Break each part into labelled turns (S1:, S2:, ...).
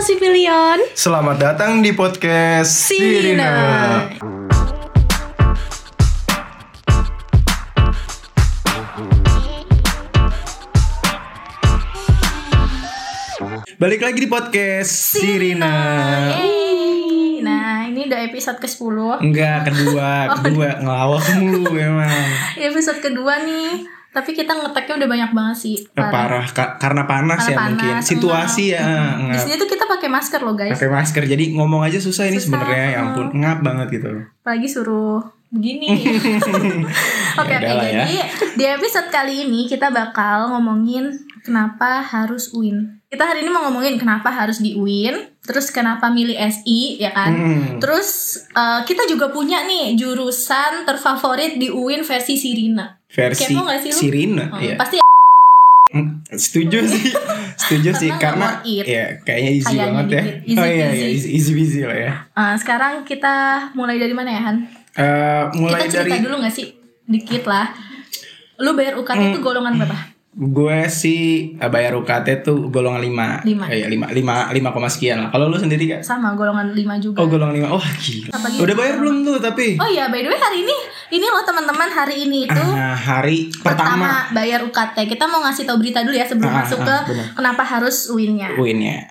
S1: Civilian
S2: Selamat datang di podcast
S1: Sirina.
S2: Balik lagi di podcast Sirina.
S1: Yeay. Nah ini udah episode ke-10
S2: Enggak,
S1: Oh,
S2: kedua, kedua ngelawak mulu emang.
S1: Episode kedua nih Tapi kita ngeteknya udah banyak banget sih
S2: Ya, parah Ka- karena panas
S1: Karena
S2: ya mungkin.
S1: panas,
S2: Situasi ya,
S1: Di
S2: ngap.
S1: sini tuh kita pakai masker loh guys
S2: Pakai masker. Jadi ngomong aja susah ini
S1: Susah,
S2: sebenarnya, ya
S1: heeh.
S2: ampun, ngap banget gitu.
S1: Apalagi suruh begini Oke oke
S2: udah lah ya.
S1: jadi di episode kali ini kita bakal ngomongin kenapa harus UIN Kita hari ini mau ngomongin kenapa harus di UIN Terus kenapa milih SI ya kan
S2: Hmm.
S1: Terus eh, kita juga punya nih jurusan terfavorit di UIN versi Sirina.
S2: Versi
S1: kepo nggak sih lu?
S2: Sirina,
S1: Oh,
S2: ya.
S1: Pasti
S2: Hmm, setuju sih setuju sih
S1: Karena nggak
S2: karena
S1: mau eat.
S2: ya kayaknya easy
S1: Kayaknya
S2: banget ya
S1: dikit. Easy
S2: oh iya iya
S1: peasy.
S2: easy easy peasy lah ya
S1: eh, sekarang kita mulai dari mana ya Han?
S2: Eh, mulai
S1: kita cerita
S2: dari
S1: dulu gak sih? Dikit lah. Lu bayar UKT itu
S2: Mm.
S1: golongan berapa?
S2: gue sih eh, bayar UKT tuh golongan 5
S1: Lima.
S2: iya 5 5 5 koma sekian lah kalau lu sendiri gak
S1: Sama golongan 5 juga.
S2: oh golongan 5 wah gila
S1: Apalagi-
S2: udah bayar belum tuh tapi
S1: Oh iya, by the way hari ini ini loh teman-teman hari ini itu
S2: Ah, hari pertama,
S1: bayar UKT. Kita mau ngasih tahu berita dulu ya sebelum
S2: Ah,
S1: masuk
S2: ah,
S1: ke
S2: benar.
S1: kenapa harus UIN-nya.
S2: winnya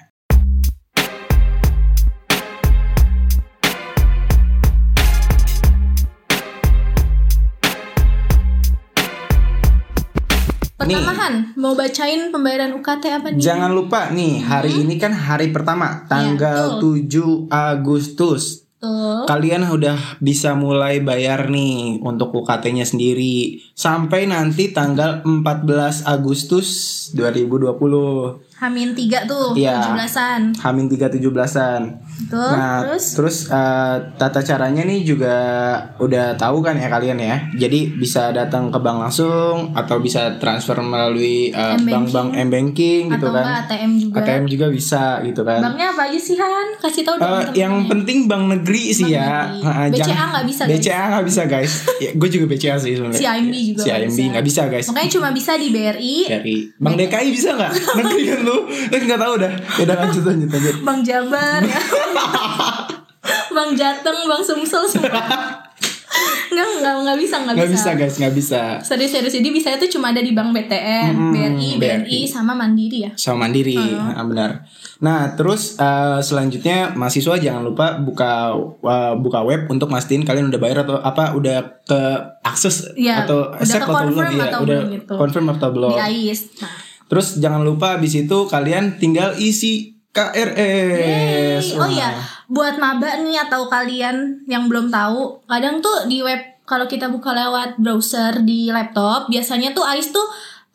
S1: Pertama
S2: Nih.
S1: Han, mau bacain pembayaran UKT apa nih?
S2: Jangan lupa nih, hari ini kan hari pertama, tanggal 7 Agustus.
S1: Tuh.
S2: Kalian udah bisa mulai bayar nih untuk UKT-nya sendiri sampai nanti tanggal 14 Agustus 2020.
S1: Hamin 3 tuh,
S2: Iya.
S1: 17-an.
S2: Hamin 3 17-an.
S1: Tuh,
S2: Nah,
S1: terus
S2: terus, eh, tata caranya nih juga udah tahu kan ya kalian ya. Jadi bisa datang ke bank langsung atau bisa transfer melalui eh,
S1: M-Banking.
S2: bank-bank M-banking gitu
S1: atau
S2: kan.
S1: enggak ATM juga.
S2: ATM juga bisa gitu kan.
S1: Banknya apa aja sih Han? Kasih tahu
S2: Eh,
S1: dong
S2: yang
S1: teman-temannya.
S2: penting bank negeri sih
S1: Bank
S2: ya.
S1: negeri.
S2: Ha, ha,
S1: BCA
S2: jangan-
S1: nggak bisa, guys.
S2: BCA nggak bisa guys. ya, gue juga BCA sih sebenarnya.
S1: CIMB juga nggak
S2: CIMB
S1: bisa.
S2: nggak bisa guys.
S1: Makanya cuma bisa di BRI,
S2: Dari Bank DKI bisa nggak? negeri kan lu? Eh, Nggak tahu dah. Udah lanjut lanjut lanjut.
S1: Bank Jabar, ya. Bank Jateng, Bank Sumsel semua. Enggak, enggak, enggak bisa, enggak
S2: Nggak
S1: bisa.
S2: bisa guys, nggak bisa.
S1: Serius-serius, jadi bisa itu cuma ada di Bank BTN,
S2: Hmm,
S1: BRI, BRI,
S2: BRI.
S1: sama Mandiri ya.
S2: Sama mandiri, Ha, benar. Nah, terus eh, selanjutnya mahasiswa jangan lupa buka eh, buka web untuk mastiin kalian udah bayar atau apa udah ke akses
S1: Iya,
S2: atau
S1: udah
S2: accept
S1: ke
S2: atau belum
S1: confirm
S2: Iya,
S1: atau
S2: udah
S1: belum gitu.
S2: confirm atau belum.
S1: Di AIS. Nah,
S2: Terus jangan lupa abis itu kalian tinggal isi KRS.
S1: Yeay. Oh iya, buat maba nih atau kalian yang belum tahu, kadang tuh di web kalau kita buka lewat browser di laptop, biasanya tuh AIS tuh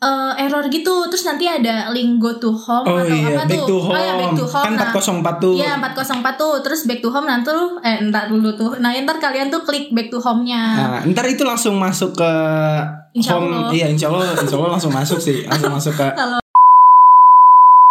S1: eh, error gitu. Terus nanti ada link go to home
S2: Oh
S1: atau
S2: iya,
S1: apa
S2: back
S1: tuh.
S2: to home.
S1: Oh iya, back to home.
S2: Kan
S1: nah,
S2: 404 tuh.
S1: Iya 404 tuh Terus back to home nanti lu Eh ntar dulu tuh Nah ntar kalian tuh klik back to home-nya
S2: Nah, ntar itu langsung masuk ke
S1: Ah. Insya
S2: home.
S1: Allah.
S2: Iya, insya Allah, insya Allah langsung masuk sih. Langsung masuk ke
S1: Kalau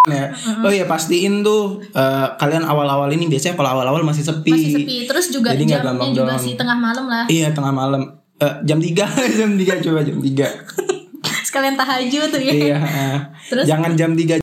S2: ya. Oh iya, pastiin tuh eh, kalian awal-awal ini biasanya kalau awal-awal masih sepi.
S1: masih sepi Terus juga
S2: Jadi nggak
S1: jamnya
S2: gampang
S1: juga
S2: down.
S1: sih tengah malam lah
S2: Iya, tengah malam. Eh, jam 3, jam 3 coba jam 3.
S1: Sekalian tahajud tuh ya
S2: iya, eh.
S1: Terus?
S2: Jangan jam 3.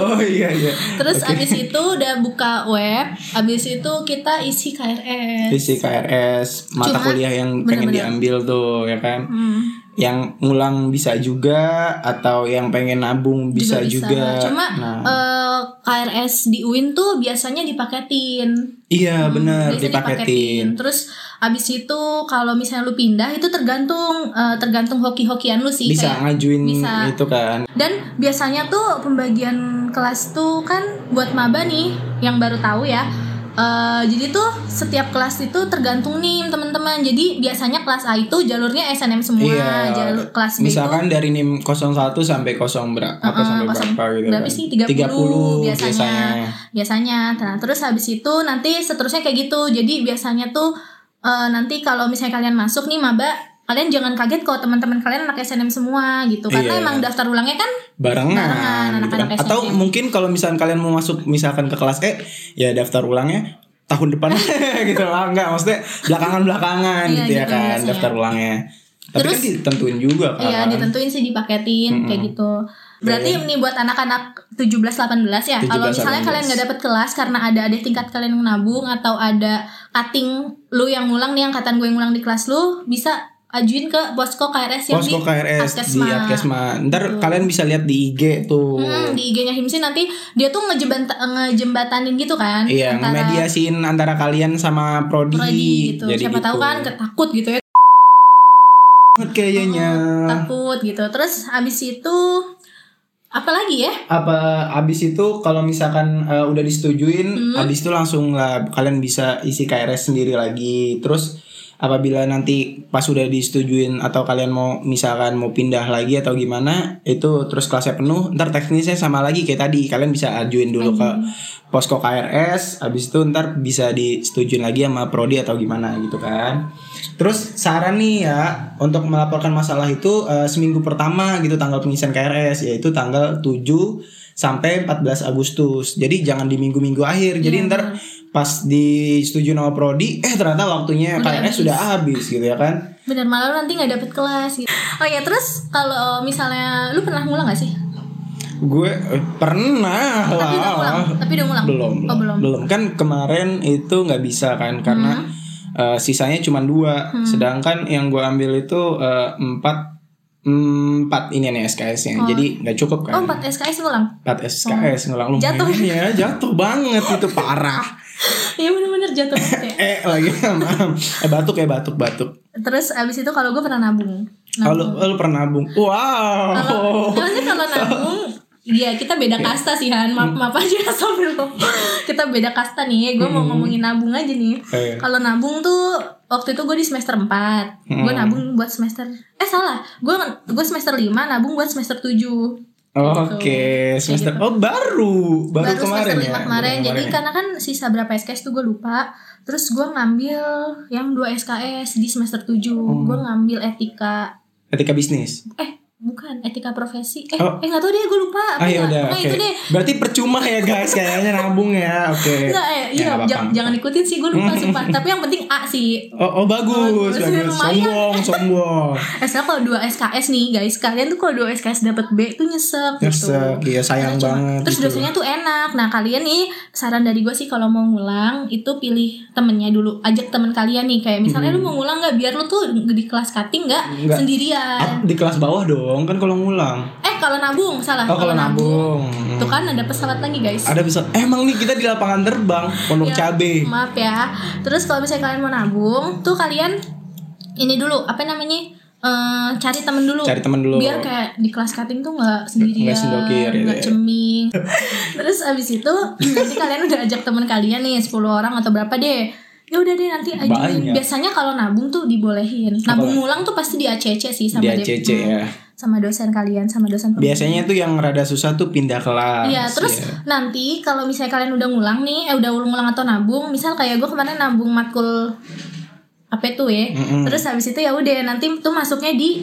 S2: oh iya iya.
S1: Terus abis itu udah buka web, abis itu kita isi KRS.
S2: Isi KRS, mata
S1: Cuma,
S2: kuliah yang pengen
S1: bener-bener.
S2: diambil tuh ya kan.
S1: Hmm,
S2: yang ngulang bisa juga atau yang pengen nabung bisa juga,
S1: Cuma
S2: nah
S1: eh, KRS di UIN tuh biasanya dipaketin. Hmm,
S2: iya bener
S1: Biasanya
S2: dipaketin
S1: Terus abis itu kalau misalnya lu pindah itu tergantung eh, tergantung hoki-hokian lu sih.
S2: bisa
S1: kayak-
S2: ngajuin
S1: bisa.
S2: itu kan
S1: Dan biasanya tuh pembagian kelas tuh kan buat maba nih yang baru tahu ya. Eh, jadi tuh setiap kelas itu tergantung nih teman-teman. Jadi biasanya kelas A itu jalurnya SNM semua,
S2: iya
S1: jalur kelas B
S2: misalkan dari nim 01 sampai 0 berapa apa
S1: Uh-uh,
S2: sampai
S1: 0
S2: berapa gitu
S1: berapa
S2: kan.
S1: sih? 30 biasanya.
S2: biasanya.
S1: itu biasanya. Nah, terus habis itu nanti seterusnya kayak gitu. Jadi biasanya tuh eh, nanti kalau misalnya kalian masuk nih maba, kalian jangan kaget kalau teman-teman kalian anak SNM semua gitu. Karena
S2: Iya.
S1: emang daftar ulangnya kan
S2: barengan,
S1: Barengan,
S2: gitu kan.
S1: anak-anak ya.
S2: atau
S1: SNM.
S2: mungkin kalau misalkan kalian mau masuk misalkan ke kelas E ya daftar ulangnya tahun depan gitu lah enggak maksudnya belakangan belakangan
S1: Iya,
S2: gitu ya
S1: gitu
S2: kan
S1: biasanya.
S2: daftar ulangnya tapi
S1: Terus-
S2: kan ditentuin juga kan
S1: Iya ditentuin sih Iya, dipaketin kayak gitu. Berarti ini buat anak-anak 17-18 ya. Kalau
S2: 17-18.
S1: misalnya kalian nggak dapet kelas karena ada adik tingkat kalian yang nabung atau ada cutting lu yang ngulang nih angkatan gue yang ngulang di kelas lu bisa ajuin ke Posko KRS yang
S2: Posko
S1: di
S2: KRS
S1: Askesma.
S2: di Atkesma. Ntar kalian bisa lihat di IG tuh.
S1: Hmm, di IG-nya Himsi nanti dia tuh ngejembatan ngejembatanin gitu kan
S2: Iya, mediasiin antara kalian sama prodi.
S1: prodi gitu.
S2: Jadi
S1: Siapa tahu
S2: gitu.
S1: kan ketakut gitu ya,
S2: Takut Kayaknya
S1: takut gitu. Terus habis itu apa lagi ya?
S2: apa abis itu kalau misalkan eh, udah disetujuin,
S1: Hmm.
S2: abis itu langsung lah kalian bisa isi KRS sendiri lagi. Terus apabila nanti pas udah disetujuin atau kalian mau misalkan mau pindah lagi atau gimana, itu terus kelasnya penuh, ntar teknisnya sama lagi kayak tadi. Kalian bisa ajuin dulu ke posko KRS, abis itu ntar bisa disetujuin lagi sama prodi atau gimana gitu kan. Terus saran nih ya untuk melaporkan masalah itu eh, seminggu pertama gitu tanggal pengisian KRS yaitu tanggal 7 sampai 14 Agustus. Jadi jangan di minggu-minggu akhir. Jadi ntar pas disetujui sama prodi eh ternyata waktunya KRS sudah habis gitu ya kan.
S1: Bener malah lu nanti nggak dapet kelas gitu. Oh ya terus kalau misalnya lu pernah ngulang gak sih?
S2: Gue eh, pernah
S1: Tapi udah ngulang.
S2: lah.
S1: Tapi udah ngulang.
S2: Ah, Belum,
S1: Oh, belum.
S2: kan kemarin itu nggak bisa kan karena
S1: Hmm.
S2: eh, sisanya cuma dua sedangkan yang gua ambil itu eh, empat mm, empat ini nih SKS nya jadi nggak cukup kan
S1: Oh 4 SKS ngulang.
S2: 4 SKS ngulang lumayan
S1: Jatuh.
S2: ya jatuh banget itu parah
S1: Iya bener-bener jatuh banget ya.
S2: eh lagi maaf. eh batuk ya batuk batuk
S1: Terus abis itu kalau gue pernah nabung. Nah,
S2: kalau lu pernah nabung wow
S1: kalau maksudnya kalau nabung Ya kita beda kasta sih Han Maaf, maaf aja sambil lo Kita beda kasta nih Gue mau ngomongin nabung aja nih
S2: Eh.
S1: Kalau nabung tuh Waktu itu gue di semester 4 Gue nabung buat semester Eh salah Gue gue semester 5 Nabung buat semester 7
S2: Oke, semester oh baru, baru,
S1: gitu. baru
S2: kemarin
S1: semester
S2: ya.
S1: lima kemarin.
S2: Baru
S1: Jadi
S2: kemarin ya.
S1: karena kan sisa berapa SKS tuh gue lupa. Terus gue ngambil yang 2 SKS di semester 7.
S2: Oh.
S1: Gue ngambil etika
S2: ketika bisnis.
S1: eh bukan etika profesi. Eh
S2: Oh.
S1: eh enggak tahu deh gue lupa.
S2: Ah ya udah,
S1: Pokoknya
S2: oke.
S1: itu deh.
S2: Berarti percuma ya guys, kayaknya nabung ya, oke.
S1: Enggak eh
S2: Ya,
S1: iya
S2: nggak apa-apa.
S1: jangan, jangan ikutin sih gue lupa sumpah. Tapi yang penting A sih.
S2: Oh, oh
S1: Bagus,
S2: bagus, bagus,
S1: lumayan.
S2: sombong, sombong.
S1: Eh sekarang kalau 2 SKS nih guys, kalian tuh kalau 2 SKS dapat B tuh nyesek, gitu.
S2: Nyesek, iya sayang
S1: Cuma-
S2: banget.
S1: Terus
S2: gitu.
S1: dosennya tuh enak. Nah kalian nih saran dari gue sih kalau mau ngulang itu pilih temennya dulu. Ajak temen kalian nih kayak misalnya lu mau ngulang nggak biar lu tuh di kelas cutting nggak
S2: Hmm. Nggak.
S1: sendirian.
S2: Ah, di kelas bawah dong, kan kalau ngulang.
S1: Eh kalau nabung salah.
S2: Oh, kalau nabung.
S1: Tuh kan ada pesawat lagi guys.
S2: Ada bisa. eh, Emang nih kita di lapangan terbang, pondok
S1: Ya,
S2: cabe.
S1: Maaf ya. Terus kalau misalnya kalian mau nabung tuh kalian ini dulu apa namanya? Eh, cari temen dulu
S2: Cari teman dulu.
S1: biar kayak di kelas cutting tuh nggak sendirian
S2: Nggak sendokir, gitu
S1: nggak
S2: ya.
S1: ceming terus abis itu nanti kalian udah ajak teman kalian nih 10 orang atau berapa deh ya udah deh nanti ajuin
S2: Banyak.
S1: biasanya kalau nabung tuh dibolehin nabung ngulang tuh pasti di ACC sih
S2: di
S1: sama Hmm. dep-
S2: ACC ya.
S1: sama dosen kalian sama dosen pembimbing.
S2: Biasanya tuh yang rada susah tuh pindah kelas.
S1: Iya, terus
S2: ya.
S1: nanti kalau misalnya kalian udah ngulang nih, eh udah ngulang atau nabung, misal kayak gue kemarin nabung matkul apa itu ya, terus habis itu ya udah nanti tuh masuknya di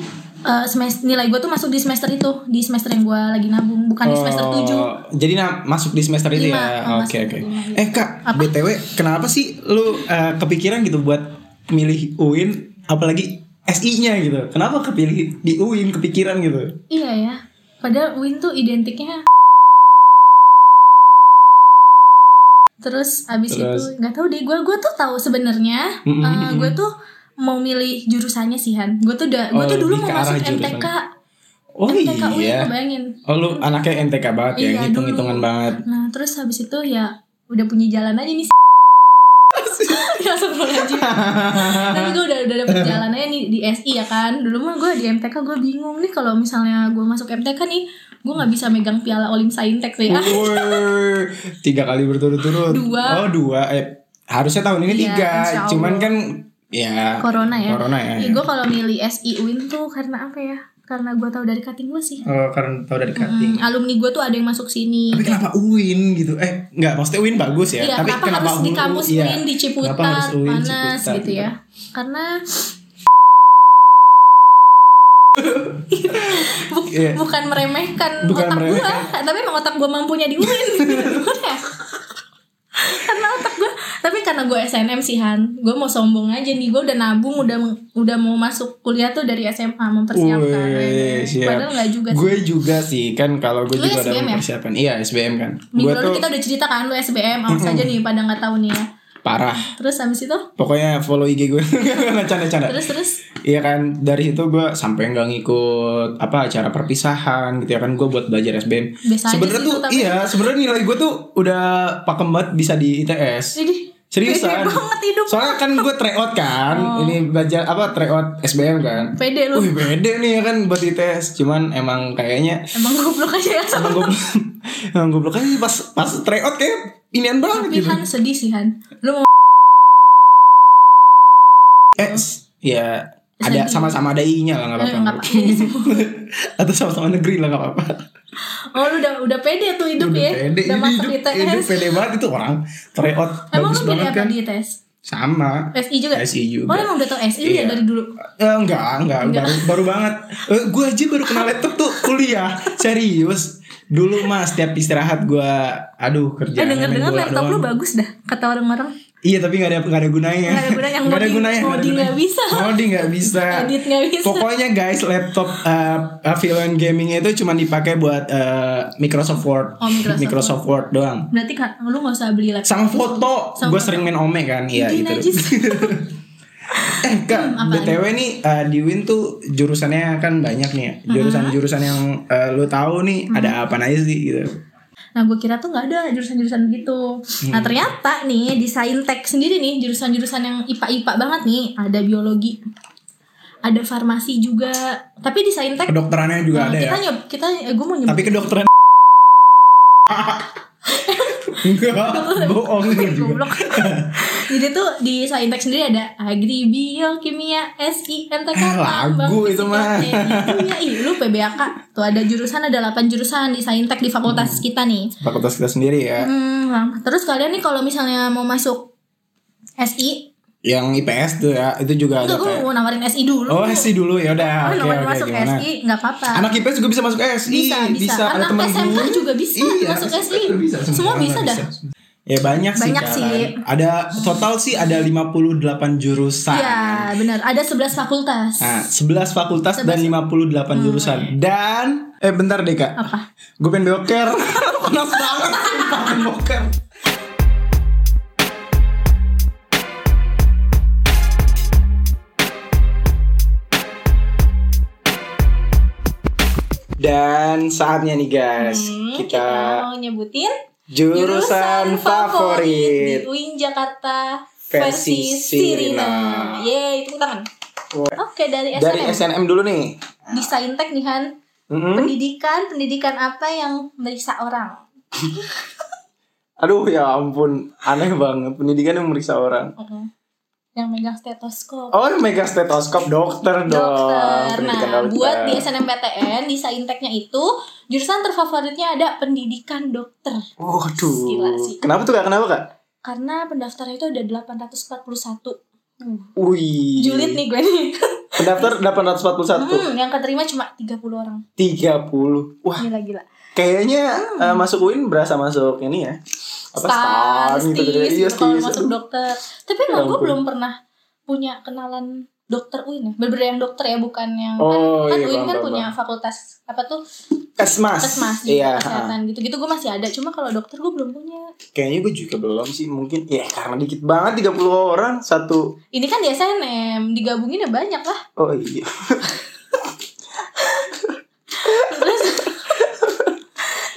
S1: semester nilai gue tuh masuk di semester itu di semester yang gue lagi nabung, bukan Kan di semester
S2: Oh,
S1: 7
S2: Jadi nah, masuk di semester itu
S1: Lima,
S2: ya.
S1: oh, masuk
S2: Oke oke.
S1: di lima,
S2: Eh Kak, BTW kenapa sih lu eh, kepikiran gitu buat milih UIN apalagi SI-nya gitu. Kenapa kepilih di UIN kepikiran gitu?
S1: Iya ya, padahal Win tuh identiknya. Terus abis
S2: Terus?
S1: itu nggak tahu deh gue gue tuh tahu sebenarnya
S2: Mm-mm,
S1: eh, gue tuh mau milih jurusannya sih Han. Gue tuh udah gue
S2: Oh,
S1: tuh dulu
S2: lebih
S1: mau
S2: ke arah
S1: masuk
S2: jurusan.
S1: MTK.
S2: Oh
S1: MTK Win
S2: iya.
S1: bayangin.
S2: Oh lu anaknya MTK banget ya,
S1: Iya,
S2: hitung-hitungan
S1: dulu.
S2: banget.
S1: Nah terus habis itu ya udah punya jalan aja nih. Ya astagfirullahaladzim Tapi gue udah, udah dapet jalan aja nih di SI ya kan Dulu mah gue di MTK gue bingung nih kalau misalnya gue masuk MTK nih Gue gak bisa megang piala Olim Saintek sih ya
S2: Oh, Woi, tiga kali berturut-turut.
S1: Dua.
S2: Oh dua. Eh harusnya tahun ini
S1: Iya,
S2: tiga.
S1: insya Allah.
S2: Cuman kan ya.
S1: Corona ya
S2: Corona ya.
S1: Ih, Gue kalau milih SI UIN tuh karena apa ya Karena gue tahu dari cutting gue sih
S2: Oh, karena tau dari
S1: Hmm,
S2: cutting.
S1: Alumni gue tuh ada yang masuk sini
S2: Tapi kenapa UIN gitu? Eh, enggak, maksudnya UIN bagus ya.
S1: Iya,
S2: Tapi
S1: kenapa, harus di
S2: UIN?
S1: kampus
S2: Iya.
S1: UIN di Ciputat
S2: Kenapa harus UIN
S1: panas
S2: Ciputat,
S1: gitu ya? Karena Buk-
S2: Iya.
S1: bukan meremehkan
S2: Bukan
S1: otak gua,
S2: meremehkan.
S1: tapi emang gitu. Iya. otak gua mampunya di UIN. Bener ya? karena otak gua, tapi karena karena gue SNM sih Han gue mau sombong aja nih gue udah nabung udah udah mau masuk kuliah tuh dari SMA mempersiapkan
S2: Wih, siap.
S1: padahal nggak juga sih
S2: Gue juga sih kan kalau gue
S1: Lu
S2: juga ada
S1: SBM ya?
S2: mempersiapkan. Iya SBM kan.
S1: minggu
S2: Gue
S1: lalu
S2: tuh Hmm.
S1: kita udah cerita kan lu SBM awas aja nih pada nggak tahu nih ya
S2: parah.
S1: terus habis itu
S2: Nah. Pokoknya follow IG gue. Canda-canda.
S1: terus terus
S2: Iya kan dari situ gue sampai nggak ngikut apa acara perpisahan gitu ya kan gue buat belajar SBM.
S1: Biasa aja
S2: Sebenarnya
S1: sih ya.
S2: tuh
S1: itu, tapi-
S2: iya sebenarnya nilai gue tuh udah pakem banget bisa di ITS.
S1: jadi
S2: Seriusan.
S1: Pede banget hidup. Oh.
S2: Soalnya kan gue tryout kan ini belajar apa tryout SBM kan.
S1: pede lu
S2: Wih beda nih ya kan buat ITS cuman emang kayaknya
S1: emang goblok aja ya sama
S2: emang gue emang gue sih pas pas tryout kayak inian banget gitu.
S1: Han sedih sih Han lu mau
S2: Eh s- ya ada
S1: Sedih.
S2: sama-sama ada I-nya lah nggak
S1: Eh, nggak
S2: apa-apa.
S1: apa-apa. Iya sih.
S2: Atau sama-sama negeri lah nggak apa-apa.
S1: oh lu udah udah pede tuh hidup
S2: Udah
S1: ya
S2: pede
S1: udah
S2: ini
S1: masuk
S2: hidup, hidup
S1: ITS
S2: pede banget itu orang tryout
S1: emang
S2: bagus
S1: lu pede
S2: banget
S1: apa
S2: kan
S1: di ITS
S2: sama
S1: SI juga
S2: SI juga.
S1: oh emang udah tau SI ya
S2: Iya.
S1: dari dulu
S2: Eh, enggak, enggak, baru baru banget. Eh, gue aja baru kenal laptop tuh kuliah. Serius. Dulu mas setiap istirahat gue aduh kerja.
S1: Eh denger dengar laptop lu bagus dah kata orang-orang.
S2: Iya tapi gak ada gak ada gunanya.
S1: Nggak ada gunanya,
S2: Nggak ada
S1: ngoding-
S2: gunanya. nggak ada
S1: ngoding nggak
S2: gunanya.
S1: bisa.
S2: Ngoding nggak bisa.
S1: Edit nggak bisa.
S2: Pokoknya guys laptop eh Pavilion Gaming itu cuma dipakai buat eh, Microsoft Word.
S1: Oh, Microsoft
S2: Word doang.
S1: Berarti kan lu nggak usah beli laptop.
S2: Sama foto.
S1: Sama
S2: Gue
S1: foto.
S2: sering main ome kan. Iya
S1: Ih,
S2: itu.
S1: najis.
S2: Eh kak, btw nih eh, di Win tuh jurusannya kan banyak nih, ya.
S1: Uh-huh.
S2: jurusan-jurusan yang eh, lu tahu nih ada apa aja sih gitu.
S1: nah gue kira tuh nggak ada jurusan-jurusan begitu.
S2: Hmm.
S1: Nah ternyata nih di Saintek sendiri nih jurusan-jurusan yang IPA-IPA banget nih ada biologi, ada farmasi juga. Tapi di Saintek
S2: Kedokterannya juga
S1: nah,
S2: ada ya.
S1: kita nyob kita gue mau nyebut
S2: Tapi kedokteran enggak bohong juga.
S1: goblok. Jadi tuh di Saintek sendiri ada Agri, Bio, Kimia, SI, MTK,
S2: Eh, lagu
S1: Tambang, Fisika,
S2: itu mah.
S1: Teknik, Kimia, ih lu PBAK. Tuh ada jurusan ada 8 jurusan di Saintek di
S2: Hmm.
S1: fakultas kita nih.
S2: Fakultas kita sendiri ya.
S1: Hmm, lama. Terus kalian nih kalau misalnya mau masuk SI,
S2: Yang IPS tuh ya, itu juga
S1: enggak
S2: ada
S1: gue
S2: kayak.
S1: mau nawarin SI dulu.
S2: Oh, SI dulu ya
S1: Kalau
S2: udah. Oke,
S1: nawarin
S2: oke,
S1: masuk
S2: gimana?
S1: SI enggak apa-apa.
S2: Anak IPS juga bisa masuk SI.
S1: bisa, bisa,
S2: Ada
S1: Anak
S2: teman
S1: SMK
S2: gue.
S1: juga bisa
S2: Iya,
S1: masuk
S2: SMK
S1: SI.
S2: juga bisa,
S1: Semua
S2: orang
S1: bisa dah.
S2: Ya banyak,
S1: Banyak
S2: sih,
S1: sih.
S2: Kak. Ada total sih ada 58 jurusan.
S1: Iya, benar. Ada 11 fakultas.
S2: Nah, 11 fakultas dan 58
S1: Hmm.
S2: jurusan. Dan eh bentar deh, Kak.
S1: Apa?
S2: Gue pengen boker. Panas banget sumpah, pengen boker. Dan saatnya nih guys,
S1: Hmm,
S2: kita
S1: mau nyebutin
S2: jurusan
S1: di
S2: favorit.
S1: UIN Jakarta
S2: Versi
S1: versi,
S2: Sirina.
S1: Sirina. Yeay, tepuk tangan. Oke, dari SNM.
S2: Dari SNM dulu nih.
S1: Di Saintek nih Han.
S2: Hmm? Mm-mm.
S1: Pendidikan, pendidikan apa yang meriksa orang?
S2: Aduh ya ampun, aneh banget pendidikan yang meriksa orang.
S1: Mm-mm. Yang megang stetoskop.
S2: Hmm. Oh, mega stetoskop dokter, dong.
S1: Dokter.
S2: Pendidikan
S1: Nah,
S2: dokter.
S1: buat di SNMPTN di Sainteknya itu jurusan terfavoritnya ada pendidikan dokter.
S2: Waduh.
S1: Gila sih.
S2: Kenapa tuh kak? Kenapa kak?
S1: Karena pendaftarnya itu ada 841. Hmm.
S2: Wih.
S1: Julid nih gue nih.
S2: Pendaftar 841.
S1: Hmm, yang keterima cuma 30 orang.
S2: 30. Wah,
S1: Gila-gila.
S2: kayaknya
S1: Mm.
S2: eh, masuk UIN berasa masuk ini ya. Apa
S1: star,
S2: star, gitu gitu. Iya,
S1: gitu, kalau
S2: stis.
S1: masuk dokter. Tapi emang
S2: Ya
S1: gue
S2: ampun.
S1: belum pernah punya kenalan dokter UIN ya. Bener-bener yang dokter ya, bukan yang
S2: Oh,
S1: kan, kan
S2: iya,
S1: UIN
S2: paham,
S1: kan
S2: paham,
S1: punya fakultas apa tuh
S2: Kesmas.
S1: kesmas gitu,
S2: Iya.
S1: kesehatan gitu-gitu gue masih ada. Cuma kalau dokter gue belum punya.
S2: Kayaknya gue juga belum sih. Mungkin ya karena dikit banget 30 orang satu.
S1: Ini kan di SNM digabungin ya banyak lah.
S2: Oh iya.
S1: Terus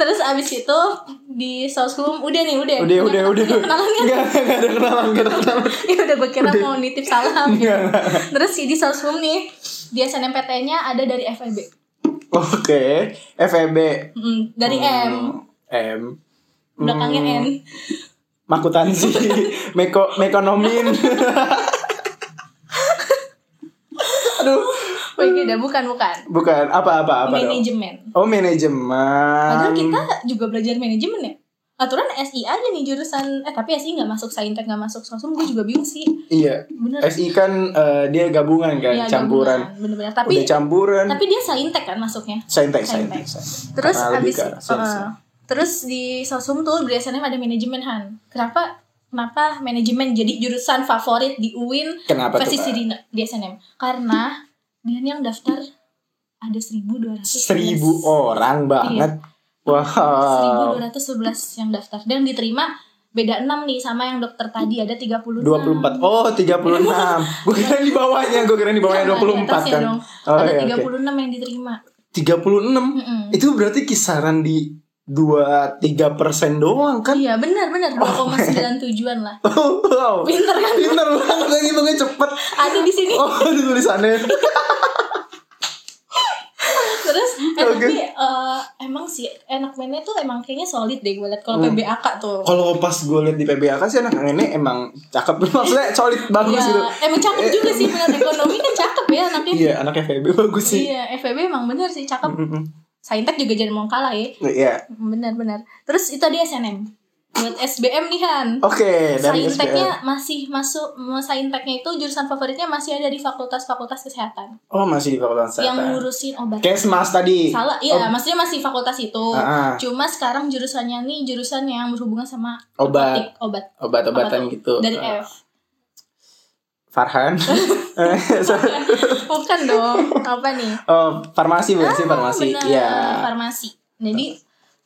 S1: Terus abis itu di sosum udah nih udah
S2: Udah,
S1: Punya
S2: udah,
S1: kenalan-
S2: udah.
S1: punya kenalan kan?
S2: Enggak, enggak ada kenalan, enggak ada kenalan.
S1: ya udah gue kira mau nitip salam
S2: Enggak.
S1: terus di sosum nih di SNMPTN-nya ada dari FEB
S2: Oke, FEB.
S1: Mm, dari
S2: Oh.
S1: M
S2: Hmm, M. Hmm,
S1: belakangnya N
S2: Makutansi, meko mekonomin. Aduh,
S1: oh iya udah bukan bukan
S2: bukan apa Hmm. apa apa dong.
S1: manajemen
S2: Oh manajemen.
S1: padahal kita juga belajar manajemen ya aturan SI aja nih jurusan eh tapi SI nggak masuk saintek nggak masuk sosum gue juga bingung sih
S2: Iya,
S1: bener
S2: SI kan eh, dia gabungan kan,
S1: Iya,
S2: campuran.
S1: gabungan. bener-bener
S2: Udah
S1: tapi
S2: campuran.
S1: tapi dia saintek kan masuknya
S2: Saintek,
S1: Saintek.
S2: saintek, saintek.
S1: terus
S2: Karena
S1: abis
S2: logika,
S1: eh, terus di sosum tuh biasanya ada manajemen han kenapa kenapa manajemen jadi jurusan favorit di UIN
S2: Kenapa tuh,
S1: versi
S2: Kak?
S1: di, di SNM karena dia yang daftar ada 1200
S2: Seribu orang banget. Wow.
S1: 1211 yang daftar dan diterima beda 6 nih sama yang dokter tadi ada 36
S2: 24
S1: Iya,
S2: Oh 36 Gue kira di bawahnya Gue kira di bawahnya
S1: Sama, di
S2: 24
S1: atasnya
S2: kan
S1: dong.
S2: Oh
S1: ada 36
S2: iya oke
S1: yang diterima
S2: 36
S1: Mm-mm.
S2: Itu berarti kisaran di 2-3 persen doang kan
S1: iya benar benar 2,97an lah
S2: Wow
S1: Pinter kan?
S2: Pinter banget Lagi hitungnya cepet
S1: ada di sini
S2: Oh di tulisannya
S1: terus eh,
S2: Oke.
S1: tapi eh, emang sih enak mainnya tuh emang kayaknya solid deh gue liat kalau
S2: Hmm.
S1: PBAK tuh
S2: Kalau pas gue liat di PBAK kan sih anak ini emang cakep Maksudnya solid bagus
S1: Iya,
S2: gitu
S1: emang cakep
S2: Eh,
S1: juga sih benar ekonomi kan cakep ya anaknya.
S2: Iya anak FEB bagus sih Hmm.
S1: Iya, FEB emang bener sih cakep.
S2: Mm-mm.
S1: Saintek juga jangan mau kalah ya.
S2: Iya
S1: Benar-benar. Terus itu dia SNM. Buat SBM nih Han.
S2: Oke Oh, ya, dari SPM
S1: Sainteknya masih masuk Sainteknya itu jurusan favoritnya masih ada di fakultas-fakultas kesehatan
S2: Oh masih di Fakultas
S1: yang
S2: Kesehatan
S1: ngurusin obat.
S2: Kesmas tadi
S1: Salah, iya,
S2: Ob-
S1: maksudnya masih fakultas itu.
S2: Ah, ah.
S1: Cuma sekarang jurusannya nih jurusan yang berhubungan sama
S2: Obat
S1: narkotik, obat
S2: obat-obatan
S1: Apa tuh?
S2: gitu
S1: dari
S2: Eh,
S1: F.
S2: Farhan Eh,
S1: Bukan dong. Apa nih?
S2: oh, farmasi bukan sih farmasi
S1: Ah, Benar,
S2: ya
S1: farmasi. Jadi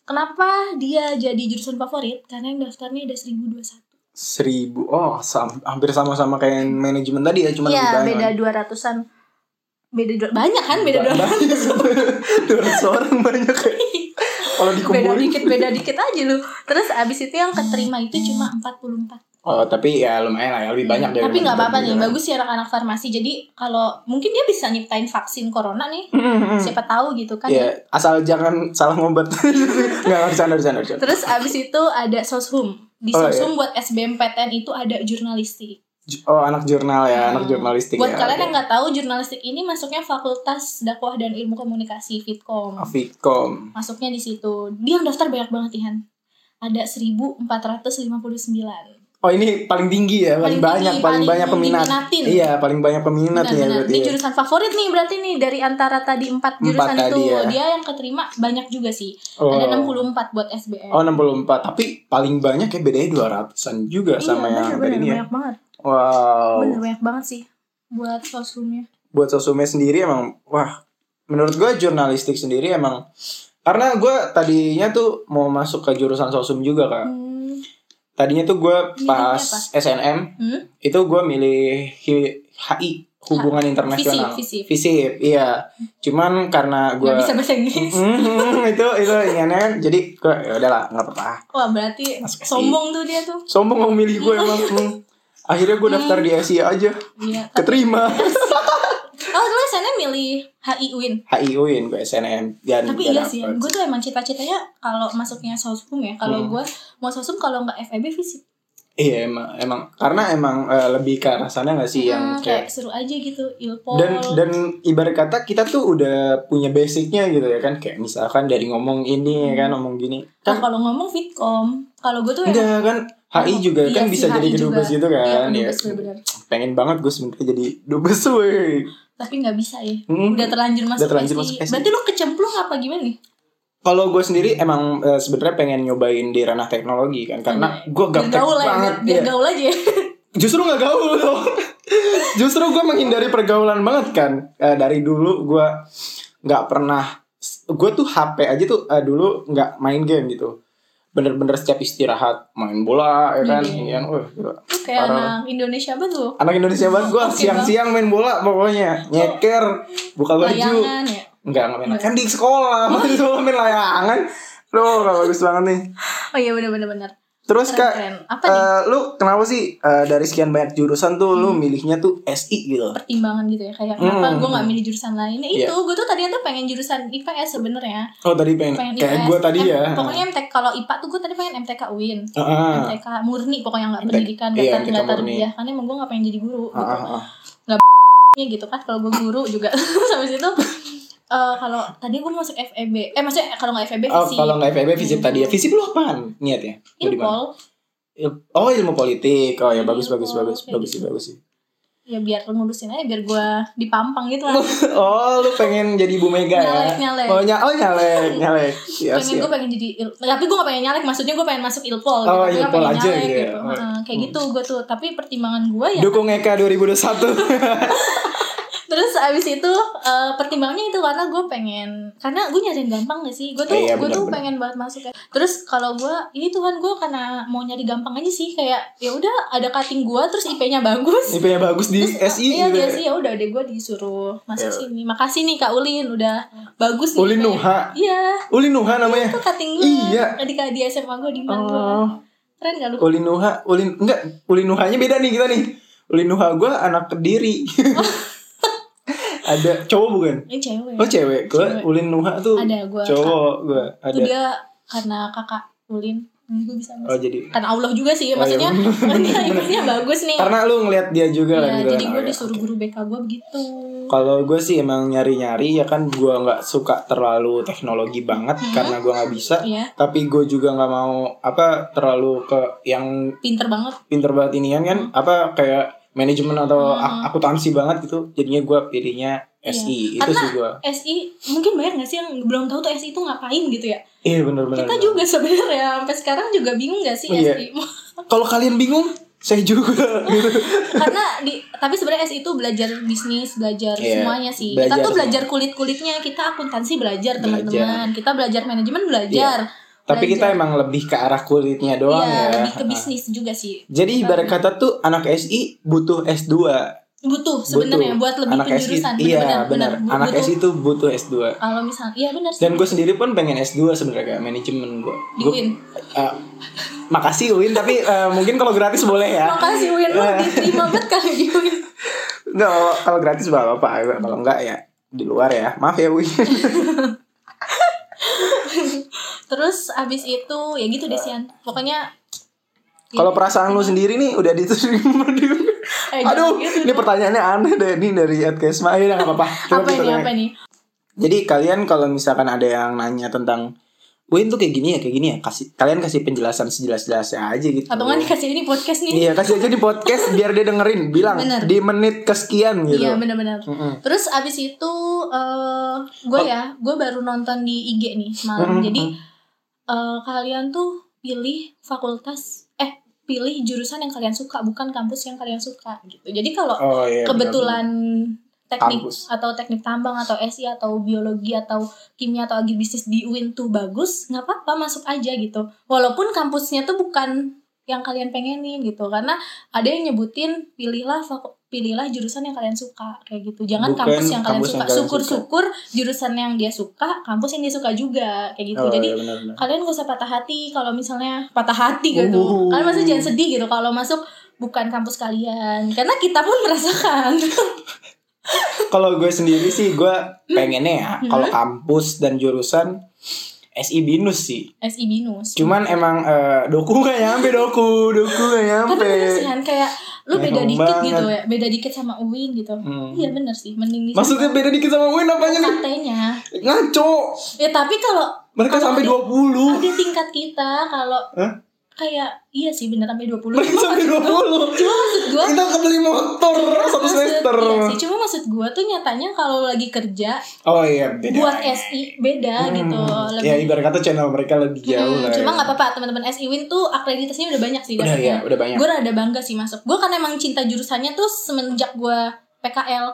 S1: kenapa dia jadi jurusan favorit? Karena yang daftarnya ada 1021.
S2: seribu oh sam- hampir sama-sama kayak yang manajemen tadi ya cuman
S1: Iya,
S2: lebih
S1: beda
S2: banyak
S1: 200-an. Beda dua, banyak kan beda dua
S2: dua ratus orang banyak ya. kalau
S1: beda
S2: dikumpulin
S1: dikit beda dikit aja lu terus abis itu yang keterima itu cuma 44
S2: oh tapi ya lumayan lah ya lebih banyak dari
S1: Iya. tapi nggak apa-apa nih
S2: manajemen.
S1: bagus ya anak-anak farmasi jadi kalau mungkin dia bisa nyiptain vaksin corona nih
S2: Mm-mm.
S1: siapa tahu gitu kan
S2: ya asal jangan salah ngobat nggak harus bercanda bercanda bercanda.
S1: terus abis itu ada soshum di
S2: Oh, iya.
S1: soshum buat SBMPTN itu ada jurnalistik
S2: Ju- oh anak jurnal ya anak jurnalistik
S1: Hmm. Buat
S2: ya,
S1: kalian
S2: oke.
S1: yang nggak tahu, jurnalistik ini masuknya Fakultas Dakwah dan Ilmu Komunikasi Fitkom.
S2: Afikom
S1: Masuknya di situ. Dia yang daftar banyak banget, Ihan. Ada 1459.
S2: Oh ini paling tinggi ya,
S1: Paling
S2: paling, banyak,
S1: tinggi,
S2: paling,
S1: paling
S2: banyak peminat.
S1: diminatin.
S2: Iya, paling banyak peminat ya
S1: Benar-benar.
S2: berarti.
S1: Ini
S2: ya.
S1: jurusan favorit nih berarti nih dari antara tadi empat
S2: Empat
S1: jurusan itu.
S2: tadi ya.
S1: Dia yang keterima banyak juga sih.
S2: Oh.
S1: Ada 64 buat SBM.
S2: Oh 64 Tapi paling banyak ya bedanya 200an juga
S1: iya,
S2: sama yang
S1: benar-benar
S2: dari ini ya Oh.
S1: banyak banget.
S2: Wow
S1: Bener banyak banget sih buat sosumnya.
S2: Buat sosumnya sendiri emang Wah Menurut gue jurnalistik sendiri emang Karena gue tadinya tuh Mau masuk ke jurusan sosum juga kak
S1: Hmm.
S2: Tadinya tuh gue
S1: Milihnya
S2: pas
S1: apa?
S2: SNM
S1: Hmm?
S2: Itu gue milih hi- HI Hubungan Internasional
S1: Visip, visip.
S2: Visip, iya Cuman karena gue
S1: Nggak bisa bahasa Inggris.
S2: Mhm, itu itu inginnya kan jadi gue ya udahlah nggak apa-apa
S1: Wah, berarti
S2: Masuk
S1: sombong tuh dia tuh.
S2: sombong mau milih gue emang Hmm. akhirnya gue daftar di SIA aja
S1: Iya,
S2: keterima
S1: Oh lu sana milih HI UIN
S2: HI UIN gue SNM dan
S1: Tapi
S2: dan
S1: iya
S2: apa.
S1: sih Gue tuh emang cita-citanya Kalau masuknya sosum ya Kalau
S2: Hmm.
S1: gue mau sosum Kalau nggak E FEB fisip
S2: iya emang emang karena emang eh, lebih ke arah sana nggak sih
S1: Hmm,
S2: yang kayak
S1: Kayak seru aja gitu Ilpol
S2: dan dan ibarat kata kita tuh udah punya basicnya gitu ya kan kayak misalkan dari ngomong ini ya kan ngomong gini
S1: Nah
S2: kan
S1: kalau ngomong Fitcom Kalau gue tuh emang
S2: enggak kan HI juga
S1: Iya
S2: kan
S1: sih,
S2: bisa jadi
S1: HI juga.
S2: kedubes gitu
S1: Iya,
S2: kan ya,
S1: kedubes, bener-bener.
S2: pengen banget gue sebenarnya jadi dubes weh
S1: Tapi nggak bisa ya
S2: Hmm.
S1: Udah terlanjur masuk
S2: terlanjur
S1: SI.
S2: masuk SI.
S1: Berarti lu kecemplung apa gimana nih?
S2: Kalau gue sendiri emang eh, sebenarnya pengen nyobain di ranah teknologi kan karena gue
S1: Biar
S2: gaptek
S1: gaul ya
S2: banget.
S1: biar- Biar
S2: Iya.
S1: gaul aja ya
S2: Justru nggak gaul dong. Justru gue menghindari pergaulan banget kan Eh, dari dulu gue nggak pernah gue tuh HP aja tuh eh, dulu nggak main game gitu. Bener-bener setiap istirahat main bola ya kan,
S1: Iya.
S2: Iya, wah, gila.
S1: Lu Kayak
S2: Parah.
S1: anak Indonesia apa tuh?
S2: Anak Indonesia banget gue
S1: Oke,
S2: siang-siang main bola pokoknya nyeker buka baju.
S1: Layangan ya
S2: Enggak, enggak main. layangan. Kan di sekolah, di sekolah main layangan. Loh, gak bagus banget nih.
S1: Oh iya bener-bener
S2: Terus
S1: Keren,
S2: kak,
S1: keren. Apa nih? Hmm.
S2: eh, lu kenapa sih eh, dari sekian banyak jurusan tuh lu milihnya tuh SI gitu?
S1: pertimbangan gitu ya kayak kenapa
S2: Hmm.
S1: gue nggak milih jurusan lain Nah,
S2: Iya.
S1: itu gue tuh tadinya tuh pengen jurusan IPS ya sebenarnya
S2: Oh tadi pengen,
S1: pengen
S2: kayak
S1: IPS
S2: gue tadi
S1: Em-
S2: ya.
S1: Kan eh, pokoknya MTK kalau IPA tuh gue tadi pengen MTK UIN
S2: Ah, ah,
S1: MTK murni pokoknya nggak
S2: MTK
S1: pendidikan
S2: iya,
S1: nggak
S2: MTK
S1: nggak
S2: murni.
S1: tarbiyah karena emang gue nggak pengen jadi guru
S2: ah, ah, ah.
S1: gitu, gitu kan kalau gue guru juga sampai situ eh, kalau tadi gue masuk FEB eh maksudnya kalau nggak FEB
S2: Oh
S1: visi
S2: kalau nggak FEB visip tadi ya visip lu apaan niatnya? Lu di mana?
S1: Ilpol
S2: Il- Oh ilmu politik. Oh ya bagus bagus
S1: Ilmu,
S2: bagus
S1: kayak
S2: bagus sih
S1: gitu.
S2: bagus sih.
S1: ya biar lu ngurusin aja biar gue dipampang gitu lah
S2: oh lu pengen jadi Bu Mega ya
S1: Nyalek, nyalek.
S2: oh nyalek oh nyalek nyalek Siap,
S1: pengen
S2: siap.
S1: gue pengen jadi il- nah, tapi gue gak pengen nyalek maksudnya gue pengen masuk ilpol
S2: Oh,
S1: Tapi nggak
S2: ilpol
S1: pengen
S2: aja gitu ya.
S1: gitu. Heeh, kayak gitu gue tuh tapi pertimbangan gue ya
S2: dukung E Eka 2021
S1: terus abis itu eh, pertimbangannya itu karena gue pengen karena gue nyariin gampang gak sih gue tuh
S2: Iya,
S1: gue tuh
S2: benar-benar.
S1: pengen banget masuk ya terus kalau gue ini tuhan gue karena mau nyari gampang aja sih kayak ya udah ada cutting gue terus IP-nya bagus
S2: IP-nya bagus Iya, di SI
S1: iya
S2: gitu
S1: dia
S2: ya.
S1: sih ya udah deh gue disuruh masuk
S2: Iya.
S1: sini makasih nih kak Ulin udah bagus nih
S2: Ulin
S1: IP-nya.
S2: Nuha
S1: iya
S2: Ulin Nuha namanya
S1: itu cutting gue
S2: Iya.
S1: di, di SMA gue di mana
S2: oh
S1: keren gak lu
S2: Ulin Nuha Ulin enggak Ulin Nuhanya beda nih kita nih Ulin Nuha gue anak kediri ada cowok bukan
S1: ini cewek
S2: Oh cewek, gue
S1: Cewek.
S2: Ulin Nuha tuh
S1: ada gue
S2: cowok gue ada.
S1: itu dia karena kakak Ulin gue bisa masuk
S2: Oh jadi
S1: karena Allah juga sih
S2: Oh, iya,
S1: maksudnya dia ibunya bagus nih
S2: karena lu ngeliat dia juga kan
S1: ya,
S2: gitu.
S1: jadi
S2: kan.
S1: gue
S2: Oh, iya.
S1: disuruh guru BK gue begitu
S2: Kalau gue sih emang nyari-nyari ya kan gue nggak suka terlalu teknologi banget
S1: Mm-hmm.
S2: karena gue nggak bisa.
S1: ya
S2: Tapi gue juga nggak mau apa terlalu ke yang
S1: pinter banget
S2: pinter banget ini kan
S1: Mm-hmm.
S2: apa kayak manajemen atau ak- akuntansi banget gitu. Jadinya gue pilihnya SI
S1: Iya.
S2: itu
S1: Karena-
S2: sih gue.
S1: SI mungkin banyak gak sih yang belum tahu tuh SI itu ngapain gitu ya
S2: Iya bener-bener.
S1: kita juga sebenarnya sampai sekarang juga bingung gak sih
S2: Iya.
S1: SI
S2: Kalau kalian bingung, saya juga. gitu.
S1: karena di tapi sebenarnya SI itu belajar bisnis belajar
S2: Iya,
S1: semuanya sih kita
S2: belajar
S1: tuh
S2: semua.
S1: belajar kulit kulitnya kita akuntansi belajar teman-teman kita belajar manajemen belajar
S2: Iya. Tapi kita emang lebih ke arah kulitnya doang
S1: Iya,
S2: ya.
S1: lebih ke
S2: Ah.
S1: bisnis juga sih
S2: Jadi ibarat kata tuh anak SI butuh S2.
S1: butuh sebenarnya
S2: Butuh.
S1: buat lebih
S2: anak SI,
S1: penjurusan
S2: Iya,
S1: benar-benar,
S2: benar.
S1: benar.
S2: Anak
S1: Butuh.
S2: SI tuh butuh S2.
S1: kalau misal iya benar sih
S2: Dan gue sendiri pun pengen S2 sebenarnya kayak manajemen gue.
S1: di Win
S2: makasih Win, tapi eh, mungkin kalau gratis boleh ya.
S1: makasih Win lu diterima banget kali di Win
S2: Enggak, kalau- kalau gratis nggak apa-apa. Kalau enggak ya di luar ya. Maaf ya Win.
S1: terus abis itu ya gitu deh Sian pokoknya
S2: kalau perasaan lu sendiri nih udah diterima di
S1: Eh, jangan
S2: Aduh,
S1: gitu
S2: ini pertanyaannya aneh deh ini dari Ed Kesma. Ya udah nggak apa-apa. Terus
S1: apa ini
S2: kita ya.
S1: apa ini
S2: Jadi kalian kalau misalkan ada yang nanya tentang Win tuh kayak gini ya, kayak gini ya. Kasih kalian kasih penjelasan sejelas-jelasnya aja gitu.
S1: atau nggak dikasih ini podcast nih
S2: Iya, kasih aja di podcast biar dia dengerin, bilang
S1: Bener.
S2: di menit kesekian gitu.
S1: iya benar-benar
S2: Mm-mm.
S1: Terus abis itu eh gue ya, gue baru nonton di IG nih semalam.
S2: Mm-mm.
S1: Jadi eh, kalian tuh pilih fakultas, eh pilih jurusan yang kalian suka, bukan kampus yang kalian suka gitu. Jadi kalau
S2: Oh iya.
S1: kebetulan teknik
S2: Kampus.
S1: atau teknik tambang atau SI atau biologi atau kimia atau agribisnis di UIN tuh bagus, nggak apa-apa masuk aja gitu. Walaupun kampusnya tuh bukan yang kalian pengenin gitu karena ada yang nyebutin pilihlah faku- pilihlah jurusan yang kalian suka kayak gitu jangan
S2: Bukan
S1: kampus yang kalian
S2: kampus yang
S1: suka
S2: kalian
S1: syukur syukur jurusan yang dia suka kampus yang dia suka juga kayak
S2: bener.
S1: gitu
S2: Oh,
S1: jadi
S2: iya, bener-bener.
S1: kalian gak usah patah hati kalau misalnya patah hati gitu
S2: Uh.
S1: kalian maksudnya jangan sedih gitu kalau masuk bukan kampus kalian karena kita pun merasakan
S2: Kalau gue sendiri sih gue pengennya ya
S1: Mm-hmm.
S2: kalau kampus dan jurusan SI binus sih.
S1: SI binus
S2: Cuman emang eh, doku gak nyampe doku, doku gak
S1: tapi Kan
S2: nyampe.
S1: bener sih Han, kayak lu beda
S2: Emang
S1: dikit
S2: banget.
S1: gitu ya beda dikit sama Uin gitu
S2: Hmm.
S1: iya bener sih mending di
S2: Maksudnya beda dikit sama Win apanya nih?
S1: katanya
S2: Ngaco.
S1: ya tapi kalau
S2: Mereka
S1: Kalau
S2: sampai
S1: di-
S2: 20.
S1: ada tingkat kita kalau
S2: Hah?
S1: kayak iya sih bener sampai 20 puluh
S2: Mereka sampai 20
S1: cuma maksud gua
S2: Kita kebeli motor Satu
S1: maksud-
S2: semester
S1: iya sih, cuma maksud gua tuh nyatanya kalau lagi kerja
S2: Oh iya beda
S1: buat SI beda
S2: Hmm.
S1: gitu lebih
S2: Ya ibarat kata channel mereka lebih jauh
S1: Hmm,
S2: lah
S1: cuma
S2: ya.
S1: nggak apa-apa teman-teman SI Win tuh akreditasinya udah banyak sih
S2: Udah ya udah banyak
S1: Gue rada bangga sih masuk. Gue karena emang cinta jurusannya tuh semenjak gue PKL.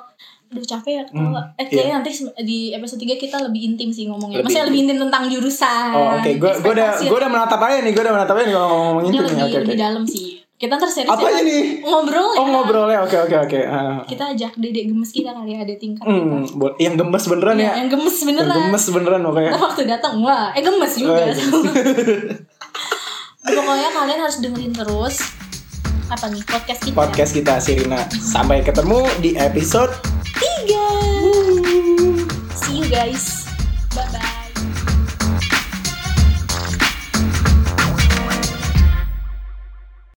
S1: Aduh capek ya ketawa.
S2: Hmm,
S1: Eh kayaknya nanti se- di episode 3 kita lebih intim sih ngomongnya.
S2: Lebih
S1: Maksudnya lebih intim tentang jurusan.
S2: Oh oke Gue Gue udah
S1: ekspektasi.
S2: Gue udah menatap aja nih Gue udah menatap aja nih Kalau ngomong
S1: Ini
S2: itu
S1: lebih,
S2: nih Oke oke
S1: lebih dalam sih. Kita ntar serius
S2: Apa
S1: ya.
S2: aja nih
S1: Ngobrol
S2: Oh
S1: ya.
S2: ngobrolnya Oke oke oke Ah.
S1: Kita ajak dedek gemes kita kali ya, ada tingkat kita.
S2: Hmm, bo- Yang gemes beneran
S1: Ya,
S2: ya
S1: yang gemes
S2: Yang
S1: beneran.
S2: gemes beneran pokoknya
S1: Ntar waktu datang wah eh gemes juga
S2: Eh,
S1: pokoknya kalian harus dengerin terus apa nih podcast kita
S2: Podcast kita Sirina Sampai ketemu di episode